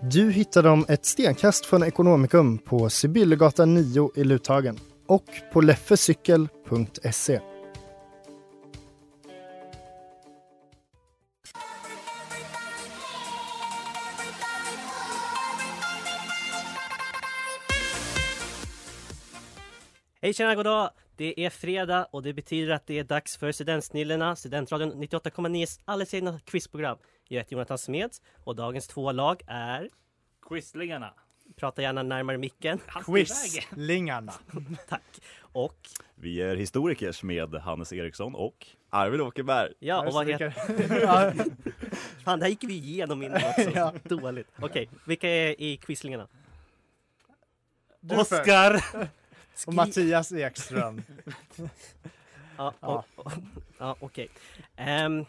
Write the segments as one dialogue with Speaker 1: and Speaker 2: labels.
Speaker 1: Du hittar dem ett stenkast från Ekonomikum på Sibyllegatan 9 i Luthagen och på leffecykel.se.
Speaker 2: Hej tjena, goddag! Det är fredag och det betyder att det är dags för Studentsnillena, Studentradion 98,9s alldeles egna quizprogram. Jag heter Jonathan Smeds och dagens två lag är...
Speaker 3: Quislingarna.
Speaker 2: Prata gärna närmare micken.
Speaker 3: Quislingarna.
Speaker 2: Tack! Och
Speaker 4: Vi är historikers med Hannes Eriksson och Arvid Åkerberg.
Speaker 2: ja, och vad heter... Fan, det här gick vi igenom innan också. Dåligt. Okej, vilka är i Quislingarna?
Speaker 3: Du
Speaker 2: Oskar!
Speaker 3: Och Mattias Ekström.
Speaker 2: Ja, och, och, ja okej. Ehm,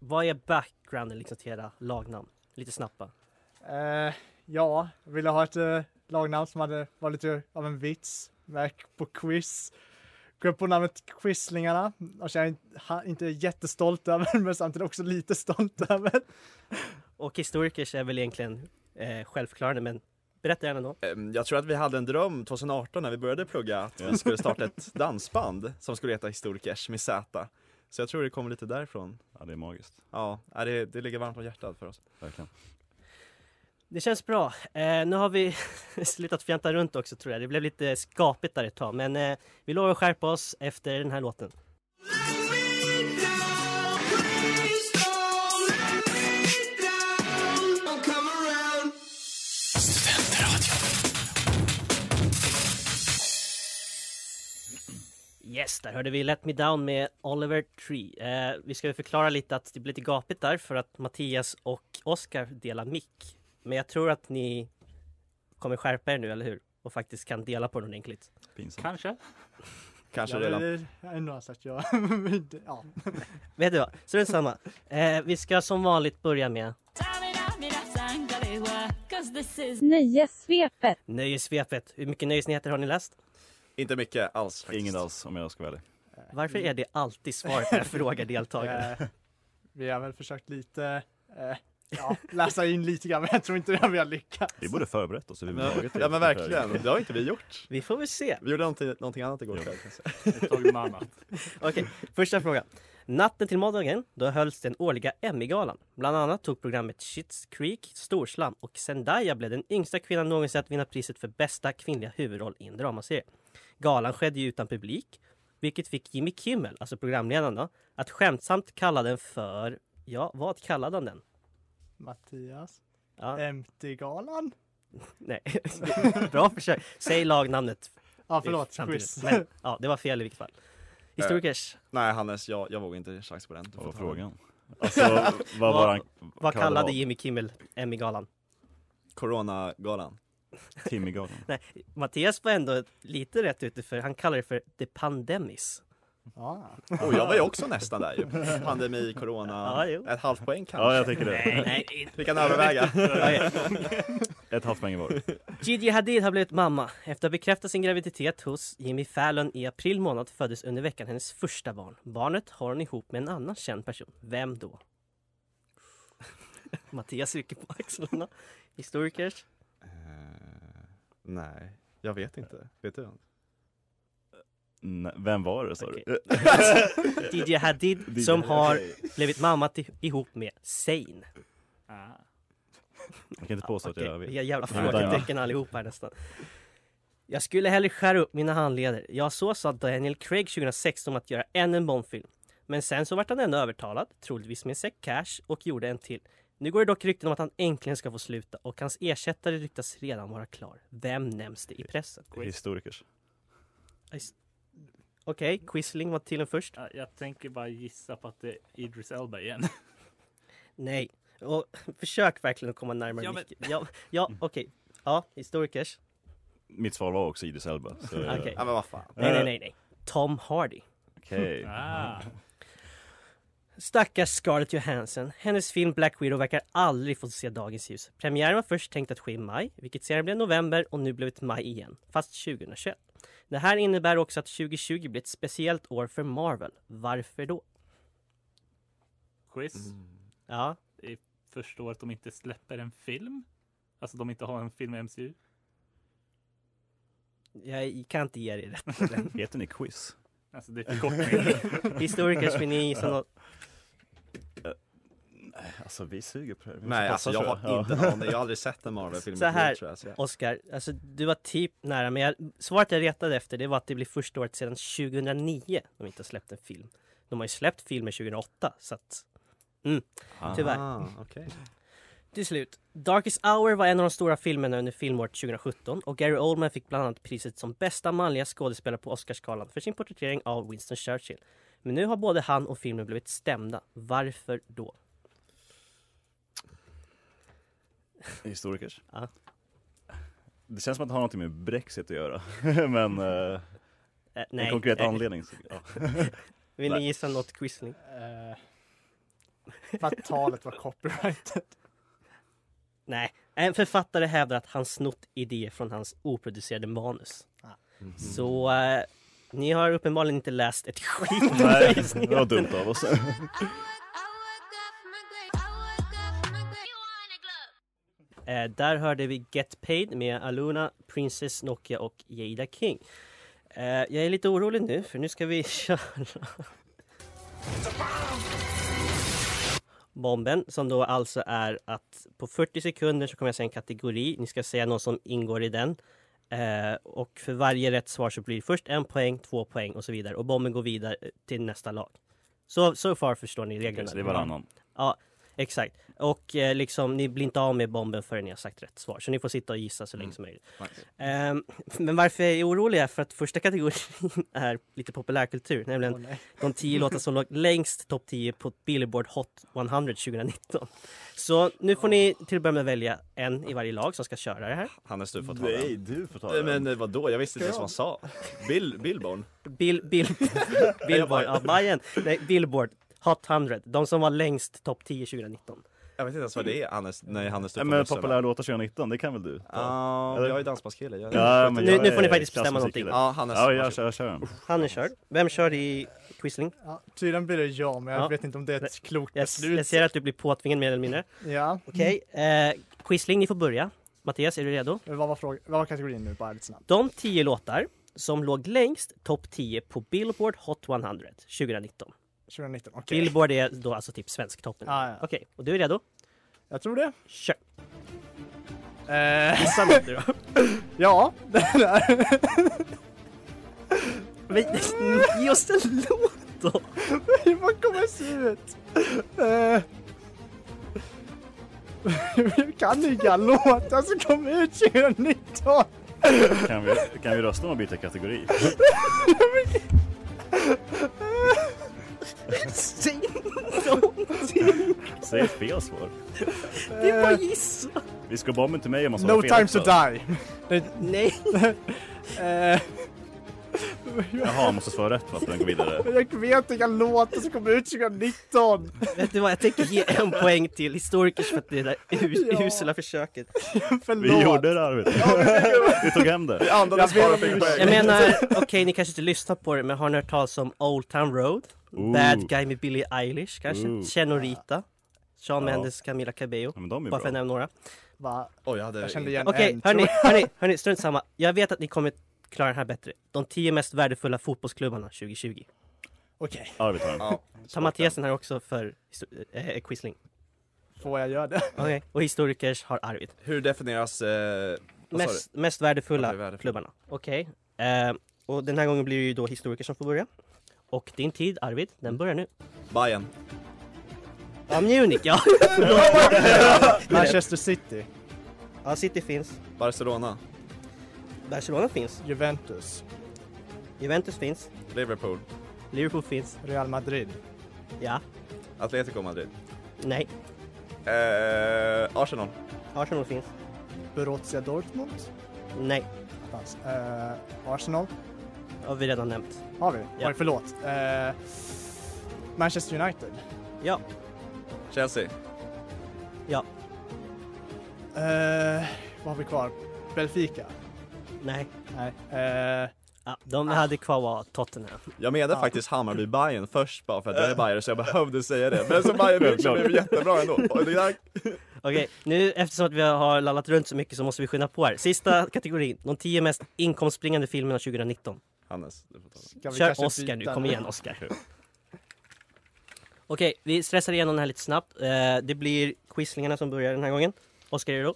Speaker 2: vad är backgrounden liksom till era lagnamn? Lite snabbt bara.
Speaker 3: eh, ja, ville ha ett eh, lagnamn som hade var lite av en vits. Märk på quiz. Gå på namnet Quislingarna. Alltså jag är inte- ha- inte jättestolt över, men samtidigt också lite stolt över.
Speaker 2: Och historikers är väl egentligen eh, självklarande men berätta gärna då.
Speaker 5: Ehm, Jag tror att vi hade en dröm 2018 när vi började plugga att vi skulle starta ett dansband som skulle heta Historikers med Z. Så jag tror det kommer lite därifrån.
Speaker 4: Ja, det är magiskt.
Speaker 5: Ja, ja, det, det ligger varmt om hjärtat för oss.
Speaker 4: Verkligen.
Speaker 2: Det känns bra. Eh, nu har vi slutat fjanta runt också tror jag. Det blev lite skapigt där ett tag men eh, vi lovar att skärpa oss efter den här låten. Yes, där hörde vi Let Me Down med Oliver Tree. Eh, vi ska förklara lite att det blir lite gapigt där för att Mattias och Oscar delar mick. Men jag tror att ni kommer skärpa er nu, eller hur? Och faktiskt kan dela på den ordentligt.
Speaker 4: Pinsamt.
Speaker 3: Kanske.
Speaker 5: Kanske
Speaker 3: ja,
Speaker 5: redan.
Speaker 3: redan. Jag har nog sagt ja. ja.
Speaker 2: Vet du vad? Så det är samma. Eh, vi ska som vanligt börja med
Speaker 6: Nöjessvepet.
Speaker 2: nöjessvepet. Hur mycket nöjesnyheter har ni läst?
Speaker 5: Inte mycket alls faktiskt.
Speaker 4: Ingen alls om jag ska vara ärlig.
Speaker 2: Varför är det alltid svar på jag frågar deltagare?
Speaker 3: Eh, vi har väl försökt lite, eh, ja, läsa in lite grann, men jag tror inte att vi har lyckats.
Speaker 4: Vi borde förberett oss överhuvudtaget.
Speaker 5: Ja men verkligen, det har inte vi gjort.
Speaker 2: Vi får väl se.
Speaker 5: Vi gjorde någonting, någonting annat igår kväll. kanske.
Speaker 2: Okej, första frågan. Natten till måndagen, då hölls den årliga Emmygalan. Bland annat tog programmet Schitt's Creek storslam och Zendaya blev den yngsta kvinnan någonsin att vinna priset för bästa kvinnliga huvudroll i en dramaserie. Galan skedde ju utan publik, vilket fick Jimmy Kimmel, alltså programledaren då, att skämtsamt kalla den för, ja, vad kallade han den?
Speaker 3: Mattias.
Speaker 2: Ja,
Speaker 3: MT-galan?
Speaker 2: nej, bra försök. Säg lagnamnet.
Speaker 3: Ja, förlåt.
Speaker 2: samtidigt.
Speaker 3: Quiz.
Speaker 2: Men, ja, det var fel i vilket fall. Eh, Historikers,
Speaker 5: Nej Hannes, jag, jag vågar inte chansa på den. Du
Speaker 4: Vad
Speaker 5: får
Speaker 4: var
Speaker 5: ta
Speaker 4: frågan? Alltså, vad var han?
Speaker 2: vad
Speaker 4: kallade
Speaker 2: kallade
Speaker 4: vad?
Speaker 2: Jimmy Kimmel Emmygalan?
Speaker 5: den. Coronagalan.
Speaker 4: Timmygalan?
Speaker 2: Mattias var ändå lite rätt ute för han kallar det för the pandemis.
Speaker 3: Ja.
Speaker 5: Och Oh, jag var ju också nästan där ju. Pandemi, corona.
Speaker 2: Ja, jo.
Speaker 5: Ett halvt poäng kanske.
Speaker 4: Ja, jag tänker det.
Speaker 2: nej.
Speaker 5: Vi kan överväga.
Speaker 4: Ett halvt poäng var.
Speaker 2: Gigi Hadid har blivit mamma. Efter att ha bekräftat sin graviditet hos Jimmy Fallon i april månad föddes under veckan hennes första barn. Barnet har hon ihop med en annan känd person. Vem då? Mattias rycker på axlarna. Historikers.
Speaker 5: Eh, nej, jag vet inte. Vet du?
Speaker 4: Nej, Vem var det sa du?
Speaker 2: Gigi Hadid som har blivit mamma till, ihop med Zayn.
Speaker 4: Okej, kan inte påstå att
Speaker 2: Ah, Okej,
Speaker 4: jag vet.
Speaker 2: Vilka jävla
Speaker 4: Nej, vänta,
Speaker 2: frågetecken allihop här nästan. Jag skulle hellre skära upp mina handleder. Ja, så sa Daniel Craig 2016 om att göra än en Bondfilm. Men sen så vart han ändå övertalad, troligtvis med en säck cash, och gjorde en till. Nu går det dock rykten om att han äntligen ska få sluta och hans ersättare ryktas redan vara klar. Vem nämns det i pressen?
Speaker 4: ja. Historikers.
Speaker 2: Okej, Quisling var till en först.
Speaker 7: Ja, Jag tänker bara gissa på att det är Idris Elba igen.
Speaker 2: Nej. Och försök verkligen att komma närmare
Speaker 7: Ja,
Speaker 2: ja,
Speaker 7: men-
Speaker 2: Ja, ja okej. Ja, historikers.
Speaker 4: Mitt svar var också Idris Elba. så-
Speaker 2: Okej.
Speaker 5: Ja, men vad fan.
Speaker 2: Nej,
Speaker 4: Eh.
Speaker 2: nej, nej, nej. Tom Hardy.
Speaker 4: Okej.
Speaker 7: Ah.
Speaker 2: Stackars Scarlett Johansson. Hennes film Black Widow verkar aldrig få se dagens ljus. Premiären var först tänkt att ske i maj, vilket sedan blev november och nu blev det maj igen, fast 2021. Det här innebär också att 2020 blir ett speciellt år för Marvel. Varför då?
Speaker 7: Quiz.
Speaker 4: Mm.
Speaker 2: Ja,
Speaker 7: Förstår att de inte släpper en film. Alltså de inte har en film i MCU.
Speaker 2: jag kan inte ge dig rätt. på den.
Speaker 4: Heter ni quiz?
Speaker 7: Alltså det är förkortning.
Speaker 2: Historikers vill ni gissa något?
Speaker 4: Alltså vi suger på det. Vi måste
Speaker 5: Nej
Speaker 4: passa,
Speaker 5: alltså jag
Speaker 4: tror
Speaker 5: har inte en aning, jag har aldrig sett en Marvel-film i
Speaker 2: Så
Speaker 5: mitt liv,
Speaker 2: här.
Speaker 5: tror jag. Så jag.
Speaker 2: Oscar, alltså du var typ nära, men jag, svaret jag retade efter det var att det blir första året sedan 2009 de inte har släppt en film. De har ju släppt filmer 2008, så att
Speaker 4: Ah.
Speaker 2: tyvärr.
Speaker 5: Ah, okej.
Speaker 2: Till slut, Darkest Hour var en av de stora filmerna under filmåret 2017 och Gary Oldman fick bland annat priset som bästa manliga skådespelare på Oscarsgalan för sin porträttering av Winston Churchill. Men nu har både han och filmen blivit stämda. Varför då?
Speaker 4: Historikers?
Speaker 2: Ja.
Speaker 4: Det känns som att det har något med Brexit att göra. Men eh,
Speaker 2: Eh,
Speaker 4: en konkret
Speaker 2: Eh,
Speaker 4: anledning. Så, ja.
Speaker 2: Vill ni
Speaker 4: Nej.
Speaker 2: gissa något Quisling?
Speaker 3: Eh, för att talet var copyrighted.
Speaker 2: Nej, en författare hävdar att han snott idéer från hans oproducerade manus. Så eh, ni har uppenbarligen inte läst ett skit
Speaker 4: Nej,
Speaker 2: av gissningen.
Speaker 4: det var dumt av oss.
Speaker 2: Eh, där hörde vi Get Paid med Aluna, Princess Nokia och Jada King. Eh, jag är lite orolig nu för nu ska vi köra Bomben som då alltså är att på 40 sekunder så kommer jag säga en kategori. Ni ska säga någon som ingår i den. Eh, och för varje rätt svar så blir det först en poäng, två poäng och så vidare. Och bomben går vidare eh, till nästa lag. Så, så far förstår ni reglerna.
Speaker 4: Så det är varannan.
Speaker 2: Exakt. Och eh, liksom, ni blir inte av med bomben förrän ni har sagt rätt svar. Så ni får sitta och gissa så länge
Speaker 4: Mm.
Speaker 2: som möjligt. Ehm, men varför jag är orolig är för att första kategorin är lite populärkultur. Nämligen
Speaker 3: Åh, nej.
Speaker 2: de 10 låtar som låg längst topp 10 på Billboard Hot 100 2019. Så nu får ni till att börja med välja en i varje lag som ska köra det här.
Speaker 5: Hannes du får ta
Speaker 4: Nej,
Speaker 5: den.
Speaker 4: du får ta
Speaker 5: Nej,
Speaker 4: den.
Speaker 5: Men eh, vadå, jag visste inte ens vad han sa. Bill, Billborn?
Speaker 2: Bill, Bill, Billboard, ja, Bajen. Nej, Billboard Hot 100. De som var längst topp 10 2019.
Speaker 5: Jag vet inte ens vad det är Hannes, nej Hannes du
Speaker 4: Nej,
Speaker 5: får
Speaker 4: men
Speaker 5: rösta.
Speaker 4: populärlåtar 2019, det kan väl du? ta?
Speaker 5: Ja,
Speaker 4: Eller?
Speaker 5: jag är dansbandskille. Jag...
Speaker 4: Ja,
Speaker 2: Nu-
Speaker 4: jag
Speaker 2: nu får ni
Speaker 4: är
Speaker 2: faktiskt bestämma
Speaker 4: klassmusikille.
Speaker 2: någonting.
Speaker 5: Ja, Hannes.
Speaker 4: Ja, jag
Speaker 5: varsågod.
Speaker 4: kör, jag kör.
Speaker 2: Han är körd. Vem kör i Quisling?
Speaker 3: Ja, tydligen blir det jag, men jag
Speaker 2: Ja.
Speaker 3: vet inte om det är ett klokt
Speaker 2: Jag, jag
Speaker 3: beslut.
Speaker 2: ser att du blir påtvingad mer eller mindre.
Speaker 3: Ja,
Speaker 2: Okej, eh, Quisling ni får börja. Mattias, är du redo?
Speaker 3: vad var, fråga, vad var kategorin nu? Bara lite snabbt.
Speaker 2: De 10 låtar som låg längst topp 10 på Billboard Hot 100 2019.
Speaker 3: 2019, okej.
Speaker 2: Billboard är då alltså typ svensktoppen.
Speaker 3: Ah, ja.
Speaker 2: Okej, och du är redo?
Speaker 3: Jag tror det.
Speaker 2: Kör!
Speaker 3: Eh,
Speaker 2: Gissa något nu då.
Speaker 3: ja,
Speaker 2: Men, ge oss en låt då!
Speaker 3: vad kommer det se ut? Eh, jag kan inga låtar som kom ut 2019.
Speaker 4: Kan vi, kan vi rösta om att byta kategori?
Speaker 2: Säg någonting!
Speaker 4: Säg ett fel svar.
Speaker 2: Det är bara gissa!
Speaker 4: Vi ska bomben till mig om man svarar
Speaker 3: No
Speaker 4: fel
Speaker 3: time
Speaker 4: också.
Speaker 3: to die.
Speaker 2: Nej!
Speaker 3: Eh,
Speaker 4: Jaha, jag måste svara rätt va, för den går vidare.
Speaker 3: jag vet inga låtar som kom ut 2019.
Speaker 2: Vet du vad, jag tänker ge en poäng till historikers för att det där us-
Speaker 3: Ja.
Speaker 2: usla försöket.
Speaker 3: Förlåt.
Speaker 4: Vi gjorde det Arvid. Vi tog hem det.
Speaker 5: Andades bara
Speaker 3: Jag ber om
Speaker 5: fick poäng.
Speaker 2: Jag menar, okej ni kanske inte lyssnar på det men har ni hört talas om Old Town Road?
Speaker 4: Ooh.
Speaker 2: Bad Guy med Billie Eilish kanske?
Speaker 4: Ooh.
Speaker 2: Chenorita? Sean
Speaker 4: Ja.
Speaker 2: Mendes, Camila Cabello?
Speaker 4: Ja, men de är
Speaker 2: Bara för att
Speaker 4: bra.
Speaker 2: nämna några.
Speaker 3: Va?
Speaker 5: Oj, jag hade...
Speaker 3: Jag kände igen
Speaker 2: Okej,
Speaker 3: en.
Speaker 2: hörni, hörni, hörni, strunt samma. Jag vet att ni kommer klara den här bättre. De tio mest värdefulla fotbollsklubbarna 2020.
Speaker 3: Okej.
Speaker 4: Arvid tar den.
Speaker 5: Ja,
Speaker 2: Ta Mattias den här också för histo- eh, Quisling.
Speaker 3: får jag göra det.
Speaker 2: Okej, Och historikers har Arvid.
Speaker 5: Hur definieras eh, vad sa du?
Speaker 2: Mest, mest värdefulla
Speaker 5: Ja, det är värdefullt.
Speaker 2: klubbarna. Okej. Eh, och den här gången blir det ju då historiker som får börja. Och din tid Arvid, den börjar nu.
Speaker 5: Bayern.
Speaker 2: Ja, Munich ja!
Speaker 3: Manchester City,
Speaker 2: ja, City finns.
Speaker 5: Barcelona.
Speaker 2: Barcelona finns.
Speaker 3: Juventus,
Speaker 2: Juventus finns.
Speaker 5: Liverpool.
Speaker 2: Liverpool finns.
Speaker 3: Real Madrid,
Speaker 2: Ja.
Speaker 5: Atletico Madrid.
Speaker 2: Nej.
Speaker 5: Eh, Arsenal.
Speaker 2: Arsenal finns.
Speaker 3: Borussia Dortmund,
Speaker 2: Nej.
Speaker 3: Attans. Eh, Arsenal,
Speaker 2: Har vi redan nämnt.
Speaker 3: har vi?
Speaker 2: Ja.
Speaker 3: Oj, förlåt. Eh, Manchester United,
Speaker 2: Ja.
Speaker 5: Chelsea.
Speaker 2: Ja.
Speaker 3: eh, vad har vi kvar? Benfica?
Speaker 2: Nej.
Speaker 3: Nej. Eh,
Speaker 2: Ja, de hade kvar var Tottenham.
Speaker 5: Jag menar
Speaker 3: Ja.
Speaker 5: faktiskt hammarby Bayern först bara för att jag är Bayern så jag behövde säga det. Men som Bayern München blev det jättebra ändå. Och det där-
Speaker 2: Okej, nu eftersom att vi har lallat runt så mycket så måste vi skynda på här. Sista kategorin, de tio mest inkomstbringande filmerna 2019.
Speaker 5: Hannes, du får ta den.
Speaker 3: ska vi
Speaker 2: Kör
Speaker 3: kanske
Speaker 2: Oscar nu,
Speaker 3: byta
Speaker 2: kom igen Oscar. Okej, vi stressar igenom den här lite snabbt. Eh, det blir quislingarna som börjar den här gången. Oscar, är du då?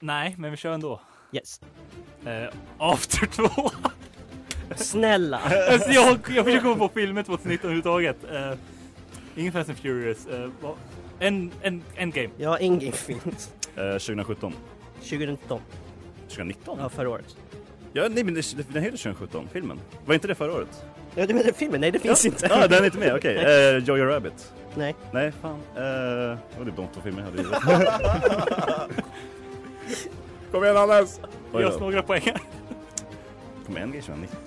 Speaker 7: Nej, men vi kör ändå.
Speaker 2: Yes.
Speaker 7: Eh, After 2.
Speaker 2: Snälla!
Speaker 7: alltså, jag, jag försöker komma på filmer 2019 överhuvudtaget. Uh, ingen Fast and Furious. eh, vad- en, en, Endgame.
Speaker 2: Ja, Endgame finns.
Speaker 4: Eh, 2017.
Speaker 2: 2019,
Speaker 4: 2019?
Speaker 2: ja förra året.
Speaker 4: Ja, nej men det, den heter 2017, filmen. Var inte det förra året?
Speaker 2: Ja, du menar filmen? Nej, det finns inte.
Speaker 4: Ja, ah, den är inte med, okej. Eh, Jojo Rabbit.
Speaker 2: Nej.
Speaker 4: Nej, fan. Eh, det var typ de två filmer jag hade i
Speaker 5: Kom igen Hannes!
Speaker 4: Oj
Speaker 7: Ge oss
Speaker 4: då.
Speaker 7: några poäng.
Speaker 4: Kommer en grej 2019?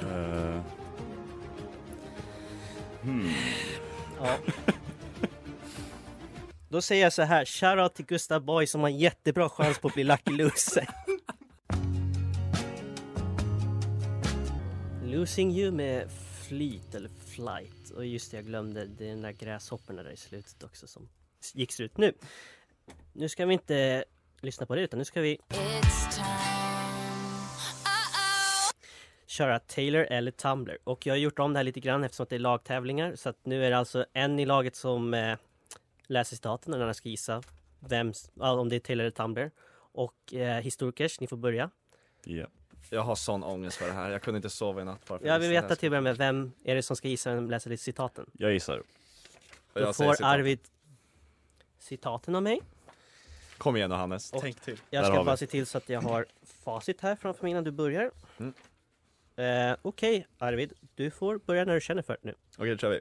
Speaker 4: Eh, hmm.
Speaker 2: Ja. Då säger jag så här, shoutout till Gustav Boy som har en jättebra chans på att bli Lucky Loser. Losing You med Fleet eller Flight. Och just det, jag glömde det är den där gräshopporna där i slutet också som gick slut nu. Nu ska vi inte lyssna på det utan nu ska vi köra Taylor eller Tumblr. Och jag har gjort om det här lite grann eftersom att det är lagtävlingar. Så att nu är det alltså en i laget som eh, läser citaten och den andra ska gissa vem, s- ja, om det är Taylor eller Tumblr. Och eh, historikers, ni får börja.
Speaker 4: Ja.
Speaker 5: Jag har sån ångest för det här. Jag kunde inte sova i natt bara för
Speaker 2: Jag vill
Speaker 5: att lyssna
Speaker 2: veta till att börja med, vem är det som ska gissa vem läser citaten?
Speaker 4: Jag gissar.
Speaker 5: på det
Speaker 2: Då
Speaker 5: här. Jag säger
Speaker 2: får
Speaker 5: citat.
Speaker 2: Arvid citaten av mig.
Speaker 5: Kom igen nu Hannes,
Speaker 2: Och-
Speaker 5: tänk till.
Speaker 2: Jag
Speaker 4: Där
Speaker 2: ska
Speaker 4: har vi.
Speaker 2: bara se till så att jag har facit här framför mig innan du börjar.
Speaker 5: Mm.
Speaker 2: Eh, Okej Arvid, du får börja när du känner för det nu.
Speaker 5: Okej, då kör vi.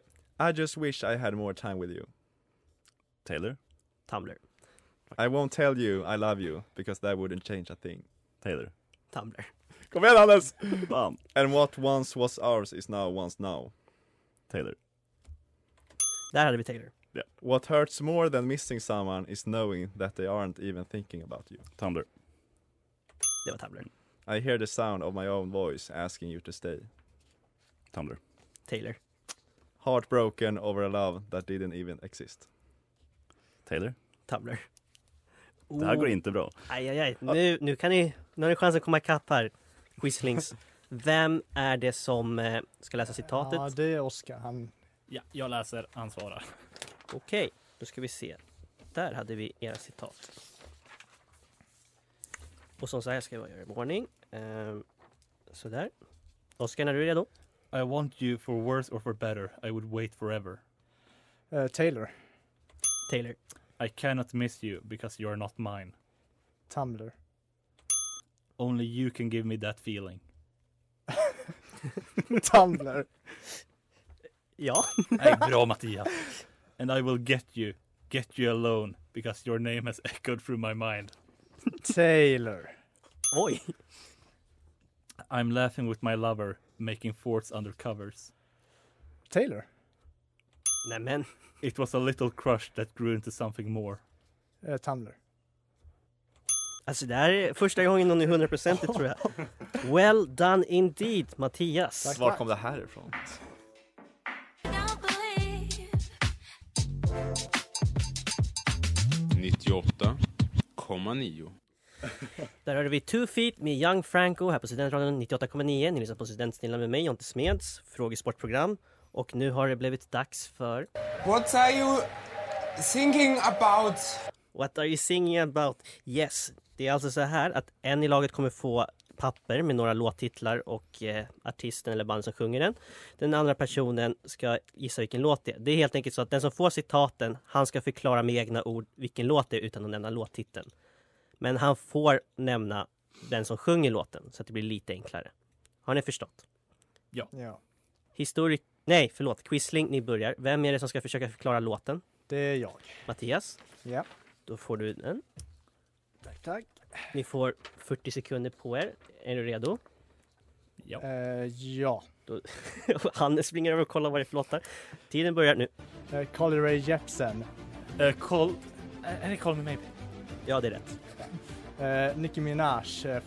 Speaker 5: I just wish I had more time with you.
Speaker 4: Taylor?
Speaker 2: Tumblr,
Speaker 5: I won't tell you I love you because that wouldn't change a thing.
Speaker 4: Taylor?
Speaker 2: Tumblr,
Speaker 5: Kom igen Hannes!
Speaker 4: Bam!
Speaker 5: And what once was ours is now once now.
Speaker 4: Taylor?
Speaker 2: där hade vi Taylor.
Speaker 5: What hurts more than missing someone is knowing that they aren't even thinking about you.
Speaker 4: Tumblr?
Speaker 2: Det var Tumblr.
Speaker 5: I hear the sound of my own voice asking you to stay.
Speaker 4: Tumblr?
Speaker 2: Taylor,
Speaker 5: Heartbroken over a love that didn't even exist.
Speaker 4: Taylor?
Speaker 2: Tumblr.
Speaker 4: Det här
Speaker 2: Oh.
Speaker 4: går inte bra.
Speaker 2: Aj, aj, aj. Nu, nu, kan ni, nu har ni chansen att komma ikapp här, Quizlings. Vem är det som eh, ska läsa citatet?
Speaker 3: Ja, det är Oscar. Han,
Speaker 7: Ja, jag läser, ansvarar.
Speaker 2: Okej, då ska vi se. Där hade vi era citat. Och som så här ska jag göra i ordning. Ehm, sådär. Oskar, när du är redo?
Speaker 7: I want you for worse or for better. I would wait forever.
Speaker 3: eh, Taylor,
Speaker 2: Taylor,
Speaker 7: I cannot miss you because you are not mine.
Speaker 3: Tumblr.
Speaker 7: Only you can give me that feeling.
Speaker 3: Tumblr.
Speaker 2: ja.
Speaker 7: Nej, bra Mattias! And I will get you, get you alone because your name has echoed through my mind.
Speaker 3: Taylor.
Speaker 2: Oj,
Speaker 7: I'm laughing with my lover, making forts under covers.
Speaker 3: Taylor.
Speaker 2: nämen.
Speaker 7: It was a little crush that grew into something more.
Speaker 3: Eh, Tumblr.
Speaker 2: Alltså det här är första gången någon är 100% tror jag. Well done indeed, Mattias.
Speaker 3: Tack.
Speaker 5: Var kom det här ifrån?
Speaker 2: Där hörde vi Two Feet med Young Franco här på Studentradion 98,9. Ni lyssnar på Studentsnillan med mig, Jonte Smeds, frågesportprogram. Och nu har det blivit dags för...
Speaker 8: What are you Thinking about...
Speaker 2: What are you singing about? Yes. Det är alltså så här att en i laget kommer få papper med några låttitlar och eh, artisten eller band som sjunger den. Den andra personen ska gissa vilken låt det är. Det är helt enkelt så att den som får citaten, han ska förklara med egna ord vilken låt det är utan att nämna låttiteln. Men han får nämna den som sjunger låten så att det blir lite enklare. Har ni förstått?
Speaker 9: Ja.
Speaker 3: ja.
Speaker 2: Historik... Nej, förlåt. Quisling, ni börjar. Vem är det som ska försöka förklara låten?
Speaker 3: Det är jag.
Speaker 2: Mattias?
Speaker 3: Ja.
Speaker 2: Då får du den.
Speaker 3: Tack, tack.
Speaker 2: Ni får 40 sekunder på er. Är du redo?
Speaker 3: Ja. Eh, ja.
Speaker 2: Då, han springer över och kollar vad det är för låtar. Tiden börjar nu.
Speaker 3: Eh, Carly Rae Jepsen.
Speaker 7: Uh, call... Är det Call Me Maybe?
Speaker 2: Ja, det är rätt.
Speaker 3: Eh, Nicki Minaj. Uh,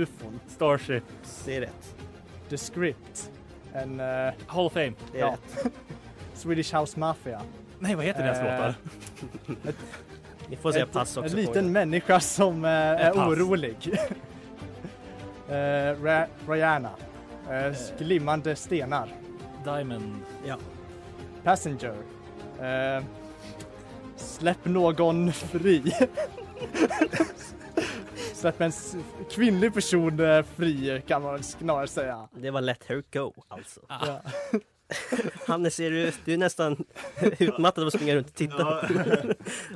Speaker 3: Ufon.
Speaker 7: Starships.
Speaker 2: Det är rätt.
Speaker 3: The Script. En... eh,
Speaker 7: Hall of Fame.
Speaker 2: Det är
Speaker 3: ja.
Speaker 2: rätt.
Speaker 3: Swedish House Mafia.
Speaker 7: Nej, vad heter deras
Speaker 3: Eh,
Speaker 7: låtar?
Speaker 2: Ni får säga
Speaker 3: Ett-
Speaker 2: pass också.
Speaker 3: En
Speaker 2: på er.
Speaker 3: liten människa som eh, är
Speaker 7: pass.
Speaker 3: orolig. Eh, Ra- Rihanna. Eh, glimmande stenar.
Speaker 7: Diamond.
Speaker 2: Ja.
Speaker 3: Passenger. Eh, släpp någon fri. släpp en s- kvinnlig person eh, fri kan man snarare säga.
Speaker 2: Det var Let Her Go, alltså.
Speaker 3: Ja.
Speaker 2: Hannes, är du, du är nästan utmattad av att springa runt och titta.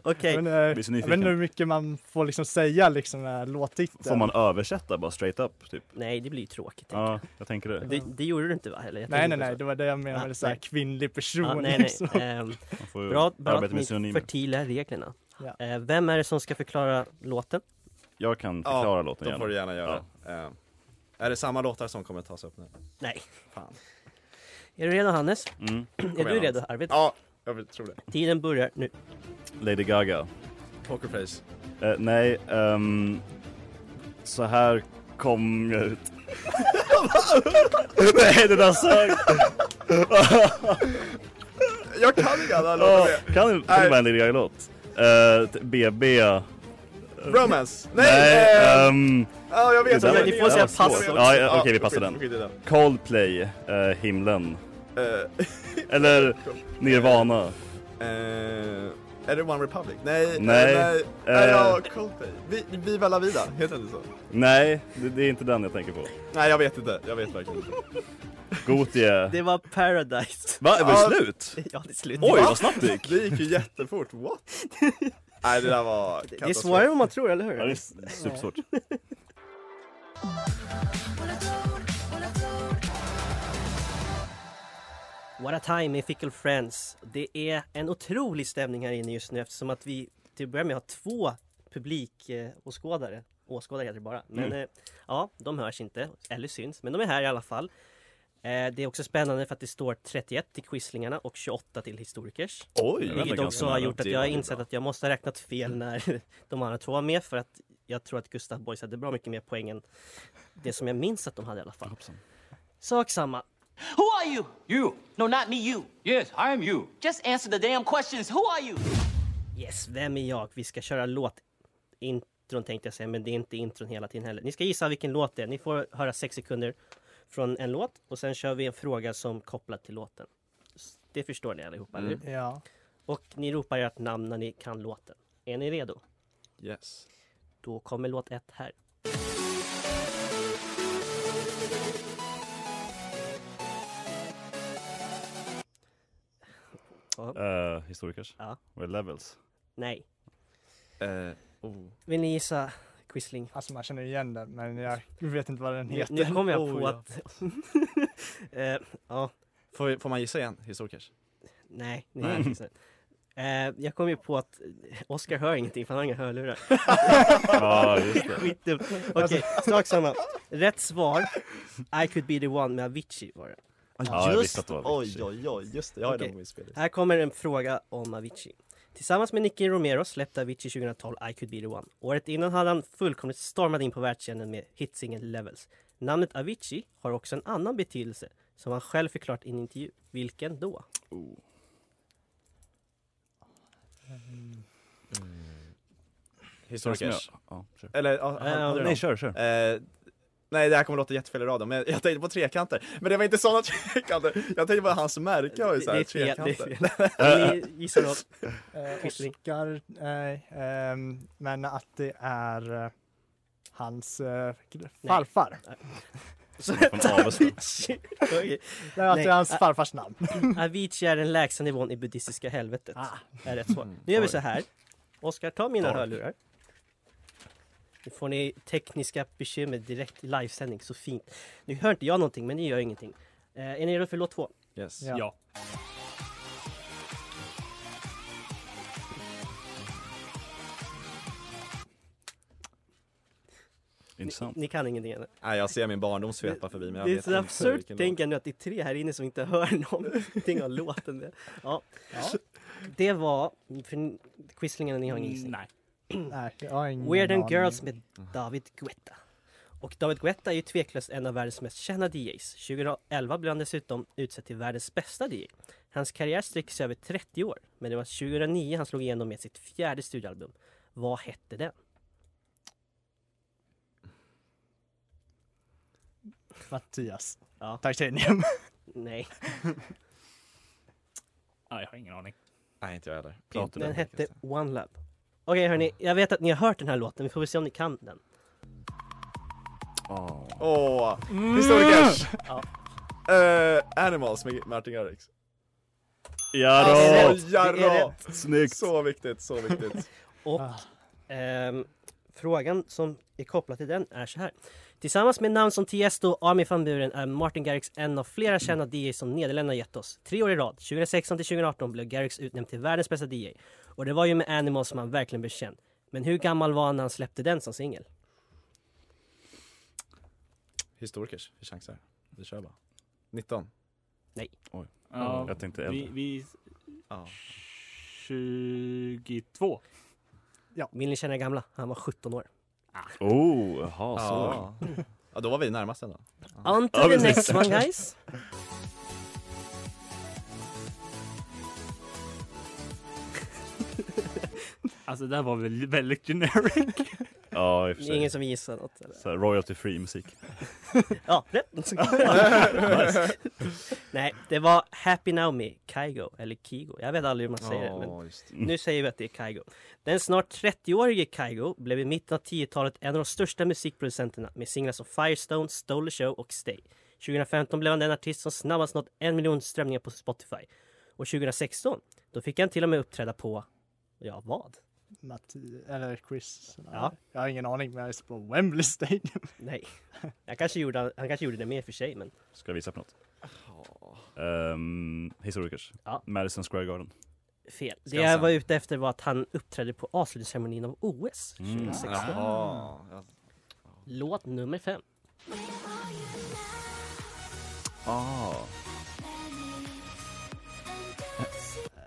Speaker 2: Okej.
Speaker 3: Men, eh,
Speaker 4: blir så
Speaker 3: jag vet
Speaker 4: nyfiken.
Speaker 3: inte hur mycket man får liksom säga liksom när låttiteln.
Speaker 4: Får man översätta bara straight up? Typ?
Speaker 2: Nej, det blir ju tråkigt. tänker
Speaker 4: Ja, jag tänker
Speaker 2: jag.
Speaker 4: det.
Speaker 2: Det, det gjorde du inte, va? Eller, jag
Speaker 3: Nej,
Speaker 2: tänkte
Speaker 3: nej,
Speaker 2: på
Speaker 3: nej,
Speaker 2: så.
Speaker 3: det var det jag menade
Speaker 2: Ah,
Speaker 3: med så här
Speaker 2: nej.
Speaker 3: kvinnlig person.
Speaker 2: Ja, nej,
Speaker 3: liksom.
Speaker 2: nej. Ehm,
Speaker 4: Man får ju
Speaker 2: bra bra
Speaker 4: arbeta
Speaker 2: att
Speaker 4: med
Speaker 2: ni
Speaker 4: synonymer.
Speaker 2: förtydligar reglerna.
Speaker 3: Ja.
Speaker 2: Eh, vem är det som ska förklara låten?
Speaker 4: Jag kan
Speaker 5: Ja,
Speaker 4: förklara låten
Speaker 5: då får du gärna göra. Eh, är det samma låtar som kommer tas upp nu?
Speaker 2: Nej.
Speaker 5: Fan.
Speaker 2: Är du redo, Hannes?
Speaker 4: Mm.
Speaker 2: är du
Speaker 5: igen,
Speaker 2: redo,
Speaker 5: Hannes.
Speaker 2: Arvid?
Speaker 5: Ja, jag tror det.
Speaker 2: Tiden börjar nu.
Speaker 4: Lady Gaga.
Speaker 5: Pokerface.
Speaker 4: Eh, nej, ehm, så här kom jag ut. nej, det där sög!
Speaker 5: Jag kan inte alla
Speaker 3: Ah.
Speaker 4: Ja,
Speaker 5: låtar.
Speaker 4: kan du kan du bara en Lady Gaga-låt? Eh, t- BB. eh,
Speaker 5: Romance. Nej!
Speaker 4: Nej,
Speaker 5: eh,
Speaker 4: ehm,
Speaker 5: ja, jag vet
Speaker 4: det
Speaker 5: vad
Speaker 4: där-
Speaker 5: du
Speaker 4: det
Speaker 5: menar.
Speaker 4: där var svårt. Ja, ja, okej, vi passar
Speaker 5: skit- skit i
Speaker 4: den. Coldplay, eh, Himlen.
Speaker 5: Eh,
Speaker 4: Eller Nirvana.
Speaker 5: eh, är det One Republic? Nej,
Speaker 4: Nej,
Speaker 5: eh, nej,
Speaker 4: eh.
Speaker 5: nej ja, Coldplay. Vi, Viva la vida, heter det inte så?
Speaker 4: Nej, det, det är inte den jag tänker på.
Speaker 5: Nej, jag vet inte. Jag vet verkligen inte.
Speaker 4: Gothie.
Speaker 2: Det var Paradise.
Speaker 4: Va, var
Speaker 5: Ja.
Speaker 4: det slut?
Speaker 2: Ja, det är slut.
Speaker 4: Oj,
Speaker 5: Va?
Speaker 4: vad snabbt det gick!
Speaker 5: Det gick ju jättefort, what? Nej, det där var
Speaker 2: Det är svårare än vad man tror, eller hur?
Speaker 4: Ja, det är s- supersvårt.
Speaker 2: What a time med Fickle Friends. Det är en otrolig stämning här inne just nu eftersom att vi till att börja med har två publikåskådare. Åskådare heter det bara. Men
Speaker 4: Mm.
Speaker 2: eh, ja, de hörs inte eller syns, men de är här i alla fall. Eh, det är också spännande för att det står 31 till quislingarna och 28 till historikers.
Speaker 4: Oj, det var
Speaker 2: Vilket
Speaker 4: ganska
Speaker 2: också har
Speaker 4: nära.
Speaker 2: gjort att
Speaker 4: Det
Speaker 2: jag
Speaker 4: var
Speaker 2: har
Speaker 4: ju
Speaker 2: insett
Speaker 4: bra.
Speaker 2: att jag måste ha räknat fel när de andra två var med för att jag tror att Gustav Boys hade bra mycket mer poäng än det som jag minns att de hade i alla fall. Sak samma.
Speaker 10: Who are you? You. No, not me, you. Yes, I am you. Just answer the damn questions. Who are you?
Speaker 2: Yes, vem är jag? Vi ska köra låt intron tänkte jag säga, men det är inte intron hela tiden heller. Ni ska gissa vilken låt det är. Ni får höra sex sekunder från en låt och sen kör vi en fråga som kopplat till låten. S- Det förstår ni allihopa, eller hur?
Speaker 3: Ja.
Speaker 2: Och ni ropar ert namn när ni kan låten. Är ni redo?
Speaker 5: Yes.
Speaker 2: Då kommer låt ett här. Ja.
Speaker 4: Eh, historikers?
Speaker 2: Ja.
Speaker 4: Var det Levels?
Speaker 2: Nej.
Speaker 5: Eh, oh.
Speaker 2: Vill ni gissa Quisling?
Speaker 3: Alltså man känner igen den men jag vet inte vad den
Speaker 2: Nu,
Speaker 3: heter.
Speaker 2: nu kommer jag
Speaker 3: Oh,
Speaker 2: på
Speaker 3: ja.
Speaker 2: att... Eh, ja,
Speaker 5: Får, vi- får man gissa igen, historikers?
Speaker 2: nej. ni
Speaker 5: Nej.
Speaker 2: har gissat. Eh, jag kom ju på att Oscar hör ingenting för han har inga hörlurar.
Speaker 4: Ja, just det.
Speaker 2: Skitdumt. Okej, sak samma. Rätt svar. I could be the one med Avicii var det.
Speaker 4: Ja, jag visste att det var
Speaker 5: Oj,
Speaker 4: Avicii.
Speaker 5: oj, oj, just det. Jag har
Speaker 2: Okej.
Speaker 5: den på min spellista.
Speaker 2: Här kommer en fråga om Avicii. Tillsammans med Nicky Romero släppte Avicii 2012 I could be the one. Året innan hade han fullkomligt stormat in på världsscenen med hitsingen Levels. Namnet Avicii har också en annan betydelse som han själv förklarat i en intervju. Vilken då?
Speaker 5: Historikers.
Speaker 4: Ja, kör.
Speaker 5: Eller, ja,
Speaker 2: Ja,
Speaker 5: han-
Speaker 2: det är Eh,
Speaker 4: Nej, kör, kör.
Speaker 5: Eh, Nej, det här kommer låta jättefel i radion, men jag tänkte på trekanter. Men det var inte sådana trekanter. Jag tänkte på hans märke har ju såhär
Speaker 2: Det- det är fel, det är
Speaker 5: trekanter.
Speaker 2: fel. Ni gissar då.
Speaker 3: Eh,
Speaker 2: Quisling.
Speaker 3: Oscar, nej, ehm, men att det är eh, hans eh, farfar.
Speaker 2: Så-
Speaker 3: Från Avesta.
Speaker 2: Avicii. Okej.
Speaker 3: Det är alltså hans
Speaker 2: A-
Speaker 3: farfars namn.
Speaker 2: Avicii är den lägsta nivån i buddhistiska helvetet.
Speaker 3: Ah.
Speaker 2: Är rätt
Speaker 5: Mm.
Speaker 2: svar. Nu gör vi så här. Oskar, ta mina
Speaker 5: Dark.
Speaker 2: hörlurar. Nu får ni tekniska bekymmer direkt i livesändning, så fint. Nu hör inte jag någonting, men ni gör ingenting. Eh, är ni redo för låt två?
Speaker 5: Yes.
Speaker 3: Ja. Ja.
Speaker 4: Intressant.
Speaker 2: Ni kan ingenting ännu.
Speaker 5: Nej, jag ser min barndom svepa förbi, men jag
Speaker 2: det är
Speaker 5: vet
Speaker 2: så
Speaker 5: inte
Speaker 2: absurt
Speaker 5: vilken låt.
Speaker 2: tänka nu att det är tre här inne som inte hör någonting av låten. där. Ja. Det var... För quislingarna, ni har ingen gissning?
Speaker 7: Nej.
Speaker 3: Nej, jag har ingen
Speaker 2: Weird and
Speaker 3: aning.
Speaker 2: Girls med David Guetta. Och David Guetta är ju tveklöst en av världens mest kända DJs. 2011 blev han dessutom utsedd till världens bästa DJ. Hans karriär sträcker sig över 30 år, men det var 2009 han slog igenom med sitt fjärde studioalbum. Vad hette den?
Speaker 3: Mattias.
Speaker 2: Ja.
Speaker 3: Titanium.
Speaker 2: Nej.
Speaker 7: Nej, jag har ingen aning.
Speaker 5: Nej, inte jag heller.
Speaker 2: Den hette One Love. Okej hörni, jag vet att ni har hört den här låten, vi får väl se om ni kan den.
Speaker 5: Åh, historikers!
Speaker 2: Ja.
Speaker 5: Eh, Animals med Martin Garrix.
Speaker 4: Jarå!
Speaker 2: Det är rätt. Det är
Speaker 5: Jarå!
Speaker 2: rätt.
Speaker 4: Snyggt.
Speaker 5: Så viktigt, så viktigt.
Speaker 2: Och ehm, frågan som är kopplad till den är så här. Tillsammans med namn som Tiesto och Armin van Buren är Martin Garrix en av flera kända DJ som Nederländerna gett oss. Tre år i rad, 2016 till 2018, blev Garrix utnämnd till världens bästa DJ. Och det var ju med Animals som han verkligen blev känd. Men hur gammal var han när han släppte den som singel?
Speaker 5: Historikers, vi chansar. Vi kör bara. 19.
Speaker 2: Nej.
Speaker 5: Oj.
Speaker 7: Ja,
Speaker 4: Jag tänkte
Speaker 7: vi,
Speaker 4: äldre.
Speaker 7: vi...
Speaker 5: Ja.
Speaker 7: 22.
Speaker 2: Vill ni känna gamla? Han var 17 år.
Speaker 4: Oh, jaha, så.
Speaker 5: Ja. ja, då var vi närmast ändå.
Speaker 2: On to
Speaker 4: Ja,
Speaker 2: the
Speaker 4: precis.
Speaker 2: next one guys.
Speaker 7: Alltså det här var väl väldigt generic.
Speaker 4: Ja, i och för
Speaker 2: Det är
Speaker 4: sig.
Speaker 2: ingen som gissar något. Eller?
Speaker 4: Så här, royalty free musik.
Speaker 2: Ja, rätt.
Speaker 4: Nice.
Speaker 2: Nej, det var Happy Now med Kygo, eller Kigo. Jag vet aldrig hur man säger det.
Speaker 5: Ja,
Speaker 2: Men
Speaker 5: just det.
Speaker 2: nu säger vi att det är Kygo. Den snart 30-årige Kygo blev i mitten av 10-talet en av de största musikproducenterna med singlar som Firestone, Stole the Show och Stay. 2015 blev han den artist som snabbast nått en miljon strömningar på Spotify. Och 2016, då fick han till och med uppträda på, ja vad?
Speaker 3: Matti- eller Chris.
Speaker 2: Ja.
Speaker 3: Jag har ingen aning, men jag är på Wembley Stadium.
Speaker 2: Nej, jag kanske gjorde, han kanske gjorde det mer för sig, men
Speaker 4: Ska jag visa på något? Um, Historikers.
Speaker 2: Ja.
Speaker 4: Madison Square Garden.
Speaker 2: fel. Det
Speaker 4: Skansen.
Speaker 2: jag var ute efter var att han uppträdde på avslutningsceremonin av OS
Speaker 7: Mm.
Speaker 4: Mm.
Speaker 2: 2016.
Speaker 5: Jaha. Ja.
Speaker 2: Låt nummer fem.
Speaker 4: Ah.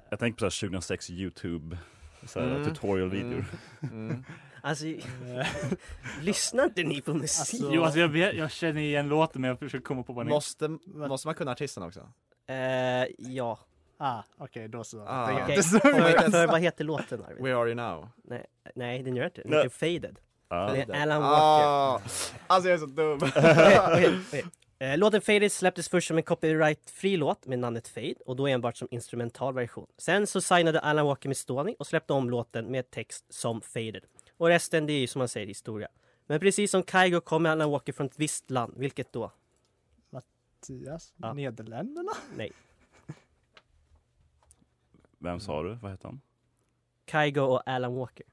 Speaker 4: Jag tänkte på så här 2006 Youtube så här
Speaker 5: Mm.
Speaker 4: tutorial-videor.
Speaker 2: Alltså, lyssnar inte ni på musik?
Speaker 7: Jo, alltså jag, vet, jag känner igen låten men jag försöker komma på vad den
Speaker 5: Måste, måste man kunna artisten också?
Speaker 2: Eh, ja.
Speaker 3: Ah, okej, då så.
Speaker 5: Ah.
Speaker 3: Det är
Speaker 2: Okej.
Speaker 3: inte så
Speaker 2: För,
Speaker 3: mycket.
Speaker 2: för vad heter låten Arvid?
Speaker 5: Where are you now?
Speaker 2: Nej, nej, den gör inte det. Den
Speaker 4: Nej.
Speaker 2: heter Faded.
Speaker 4: Ah.
Speaker 2: Det är Alan Walker.
Speaker 5: Ah, alltså jag är så dum.
Speaker 2: Okej, okej, okej. Eh, Låten Faded släpptes först som en copyright-fri låt med namnet Fade och då enbart som instrumental version. Sen så signade Alan Walker med Stoney och släppte om låten med text som Faded. Och resten det är ju som man säger historia. Men precis som Kygo kommer Alan Walker från ett visst land, vilket då?
Speaker 3: Mattias,
Speaker 2: Ja.
Speaker 3: Nederländerna?
Speaker 2: Nej.
Speaker 4: Vem sa du? Vad hette han?
Speaker 2: Kygo och Alan Walker.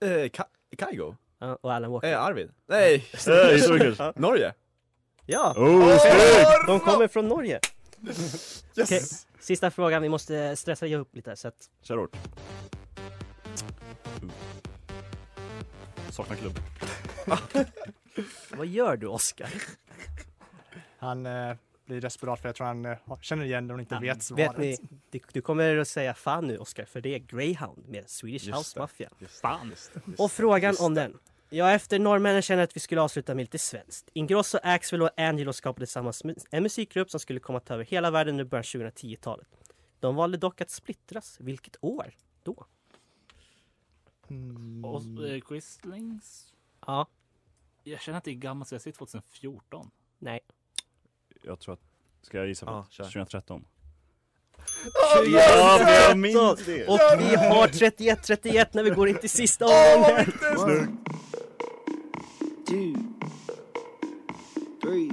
Speaker 5: Eh, Ka- Kygo?
Speaker 2: Ja, och Alan Walker.
Speaker 5: Eh, Arvid? Nej!
Speaker 4: Eh, Historikers.
Speaker 5: Norge?
Speaker 2: Ja!
Speaker 4: Oh, snyggt!
Speaker 2: De kommer från Norge!
Speaker 5: Yes!
Speaker 2: Okej, sista frågan. Vi måste stressa upp lite. Så att,
Speaker 4: Kör hårt. Saknar klubb.
Speaker 2: vad gör du, Oskar?
Speaker 3: Han eh, blir desperat för jag tror han eh, har- känner igen det och inte vet svaret.
Speaker 2: Vet ni, du, du kommer att säga fan nu, Oskar, för det är Greyhound med Swedish
Speaker 5: Just
Speaker 2: House
Speaker 5: det.
Speaker 2: Mafia.
Speaker 7: Fan.
Speaker 2: Och frågan
Speaker 5: Just
Speaker 2: om den. Ja, efter norrmännen kände att vi skulle avsluta med lite svenskt. Ingrosso, Axwell och Angelo skapade tillsammans mu- en musikgrupp som skulle komma att ta över hela världen under början av 2010-talet. De valde dock att splittras. Vilket år då?
Speaker 3: Mm.
Speaker 7: Och eh, Quislings?
Speaker 2: Ja,
Speaker 7: Jag känner att det är gammalt, så jag säger 2014.
Speaker 2: Nej.
Speaker 8: Jag tror att... Ska jag gissa på
Speaker 2: Ja,
Speaker 8: det? 2013?
Speaker 2: Ja, men jag
Speaker 4: minns det.
Speaker 2: Och vi har 31-31 när vi går in till sista omgången.
Speaker 11: two, three.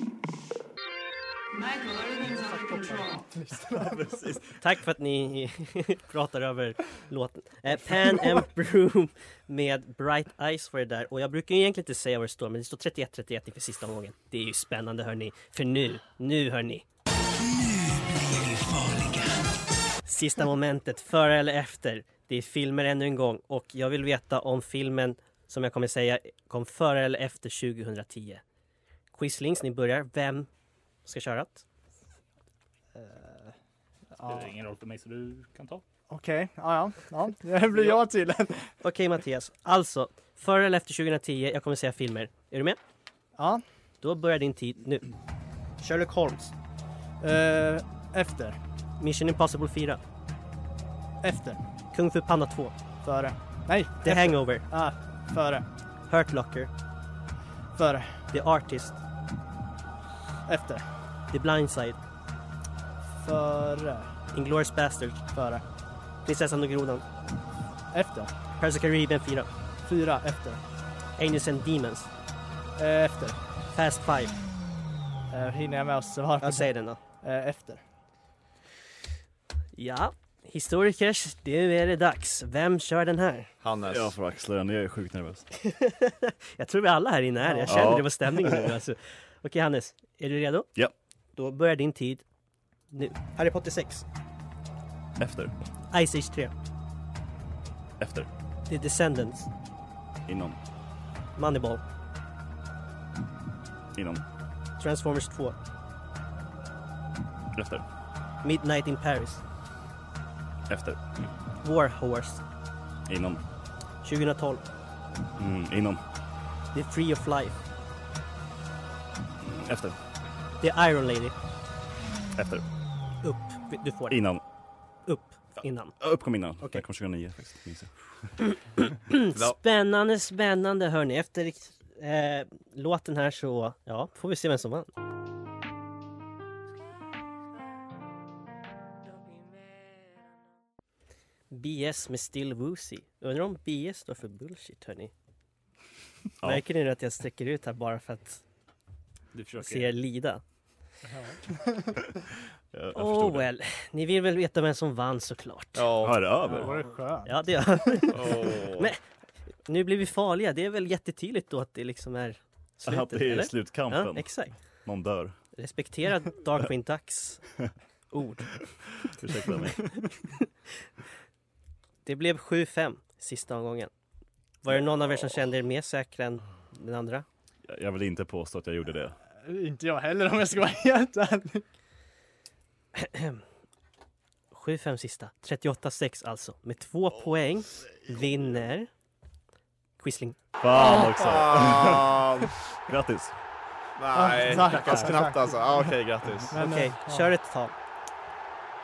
Speaker 2: Precis. Tack för att ni pratar över låten. Eh, Pan Am Broom med Bright Eyes var det där. Och jag brukar ju egentligen inte säga vad det står, men det står 31-31 inför sista omgången. Det är ju spännande hörni. För nu, nu hörni. Sista momentet, före eller efter. Det är filmer ännu en gång och jag vill veta om filmen som jag kommer säga kom före eller efter 2010. Quizlings, ni börjar. Vem ska köra? det?
Speaker 7: Det är ingen roll för mig så du kan ta.
Speaker 3: Okej, ja, ja. ja. Det blir jag till.
Speaker 2: Okej Mattias, alltså före eller efter 2010, jag kommer säga filmer. Är du med?
Speaker 3: Ja.
Speaker 2: Då börjar din tid nu. Sherlock Holmes.
Speaker 3: Eh, efter.
Speaker 2: Mission Impossible 4.
Speaker 3: Efter.
Speaker 2: Kung Fu Panda 2.
Speaker 3: Före. Nej.
Speaker 2: The
Speaker 3: efter.
Speaker 2: Hangover.
Speaker 3: Ah, före.
Speaker 2: Hurt Locker.
Speaker 3: Före.
Speaker 2: The Artist.
Speaker 3: Efter.
Speaker 2: The Blind Side.
Speaker 3: Före.
Speaker 2: Inglourious Basterds.
Speaker 3: Före.
Speaker 2: Prinsessan och grodan.
Speaker 3: Efter.
Speaker 2: Pirates of the Caribbean 4.
Speaker 3: Fyra. Efter.
Speaker 2: Angels and Demons.
Speaker 3: Eh, efter.
Speaker 2: Fast Five.
Speaker 3: Eh, hinner jag med att svara?
Speaker 2: Jag säger den då.
Speaker 3: Eh, efter.
Speaker 2: Ja, historikers, nu är det dags. Vem kör den här?
Speaker 5: Hannes.
Speaker 8: Jag får axla den, jag är sjukt nervös.
Speaker 2: Jag tror vi alla här inne är det. Jag känner
Speaker 8: Ja.
Speaker 2: det var stämningen nu. Alltså. Okej Hannes, är du redo?
Speaker 8: Ja.
Speaker 2: Då börjar din tid nu. Harry Potter 6.
Speaker 8: Efter.
Speaker 2: Ice Age 3.
Speaker 8: Efter.
Speaker 2: The Descendants.
Speaker 8: Inom.
Speaker 2: Moneyball.
Speaker 8: Inom.
Speaker 2: Transformers 2.
Speaker 8: Efter.
Speaker 2: Midnight in Paris.
Speaker 8: Efter.
Speaker 2: War Horse.
Speaker 8: Inom.
Speaker 2: 2012.
Speaker 8: Mm, inom.
Speaker 2: The Free of Life.
Speaker 8: Efter.
Speaker 2: The Iron Lady.
Speaker 8: Efter.
Speaker 2: Upp. Du får det.
Speaker 8: Inom.
Speaker 2: Upp. Innan.
Speaker 8: Upp kom innan. Den kom 2009 faktiskt. minns jag.
Speaker 2: Mm. Spännande, spännande hörni. Efter eh, låten här så ja, får vi se vem som vann. BS med Still Woozy. Undrar om BS står för bullshit hörni.
Speaker 7: Ja.
Speaker 2: Märker ni att jag sträcker ut här bara för att
Speaker 7: Du försöker.
Speaker 2: se er lida?
Speaker 7: Jag- jag förstod
Speaker 2: oh
Speaker 7: det.
Speaker 2: well, ni vill väl veta vem som vann såklart?
Speaker 8: Ja. Hör över.
Speaker 3: Ja, vad det är skönt.
Speaker 2: Ja, det gör
Speaker 8: Åh.
Speaker 2: Men nu blir vi farliga, det är väl jättetydligt då att det liksom är slutet?
Speaker 8: Att det är
Speaker 2: eller?
Speaker 8: slutkampen.
Speaker 2: Ja, exakt.
Speaker 8: Någon dör.
Speaker 2: Respektera Dark Queen Ducks ord.
Speaker 8: Ursäkta mig.
Speaker 2: Det blev 7-5 sista omgången. Var det någon av er som kände er mer säkra än den andra?
Speaker 8: Jag- Jag vill inte påstå att jag gjorde det.
Speaker 3: Inte jag heller om jag ska vara helt ärlig.
Speaker 2: 7-5 sista. 38-6 alltså. Med två poäng vinner Quisling.
Speaker 8: Fan också. Grattis.
Speaker 5: Nej,
Speaker 3: Ah, tack,
Speaker 5: knappt,
Speaker 3: tack.
Speaker 5: knappt alltså. Ah, Okej, grattis.
Speaker 3: Men,
Speaker 2: Okej,
Speaker 3: eh, ja.
Speaker 2: kör ett tal.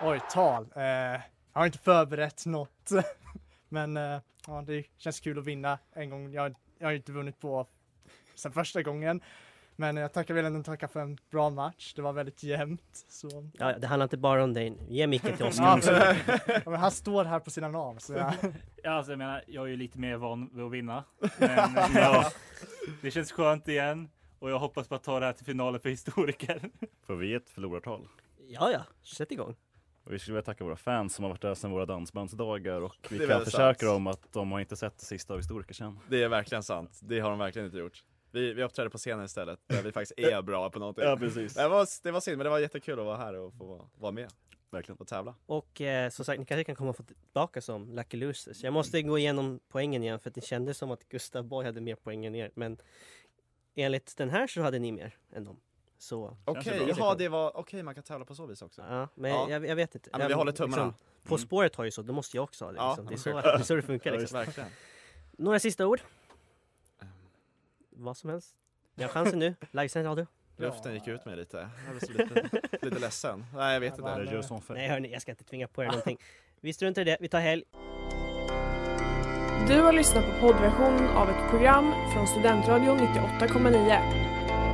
Speaker 3: Oj, tal. Eh, jag har inte förberett något. Men eh, ja, det känns kul att vinna en gång. Jag, jag har inte vunnit på sen första gången. Men jag tackar väl ändå tacka för en bra match. Det var väldigt jämnt. Så.
Speaker 2: Ja, ja, det handlar inte bara om dig nu. Ge micken till
Speaker 3: Ja,
Speaker 2: Oskar.
Speaker 3: men- ja, men han står här på sidan av. Så jag...
Speaker 7: Ja, alltså, jag menar, jag är ju lite mer van vid att vinna. Men eh, ja, det känns skönt igen. Och jag hoppas på att ta det här till finalen för historiker.
Speaker 8: Får vi ett förlorartal?
Speaker 2: Ja, ja. Sätt igång.
Speaker 8: Och vi skulle vilja tacka våra fans som har varit där sedan våra dansbandsdagar och
Speaker 5: Det
Speaker 8: vi
Speaker 5: är
Speaker 8: kan
Speaker 5: väldigt
Speaker 8: försäkra
Speaker 5: sant.
Speaker 8: dem att de har inte sett det sista av historiker sen.
Speaker 5: Det är verkligen sant. Det har de verkligen inte gjort. Vi, vi uppträder på scenen istället, där vi faktiskt är bra på någonting.
Speaker 8: Ja, precis.
Speaker 5: typ. Det var, det var synd, men det var jättekul att vara här och få vara- vara med.
Speaker 8: Verkligen.
Speaker 5: Och tävla.
Speaker 2: Och eh, som sagt, ni kanske kan komma och få tillbaka som Lucky Losers. Jag måste gå igenom poängen igen för att det kändes som att Gustav Borg hade mer poäng än er. Men enligt den här så hade ni mer än dem. Så...
Speaker 5: Okej, jaha, det var, okej man kan tävla på så vis också.
Speaker 2: Ja, men
Speaker 5: Ja.
Speaker 2: Jag, jag vet inte.
Speaker 5: Ja, men vi
Speaker 2: Jag-
Speaker 5: håller tummarna.
Speaker 2: Liksom, på
Speaker 5: Mm.
Speaker 2: spåret har ju så, då måste jag också ha det.
Speaker 5: Ja,
Speaker 2: Liksom. Det, är så,
Speaker 5: självklart.
Speaker 2: det är så det funkar.
Speaker 5: Ja,
Speaker 2: Liksom.
Speaker 5: visst, Ehm. verkligen.
Speaker 2: Några sista ord? Vad som helst. Ni har chansen nu. Livesänd radio.
Speaker 5: Luften gick ut mig lite. Jag blev så lite, lite ledsen. Nej, jag vet inte.
Speaker 2: Nej hörni, jag ska inte tvinga på er någonting. Vi struntar i det, vi tar helg.
Speaker 12: Du har lyssnat på poddversionen av ett program från Studentradion 98,9.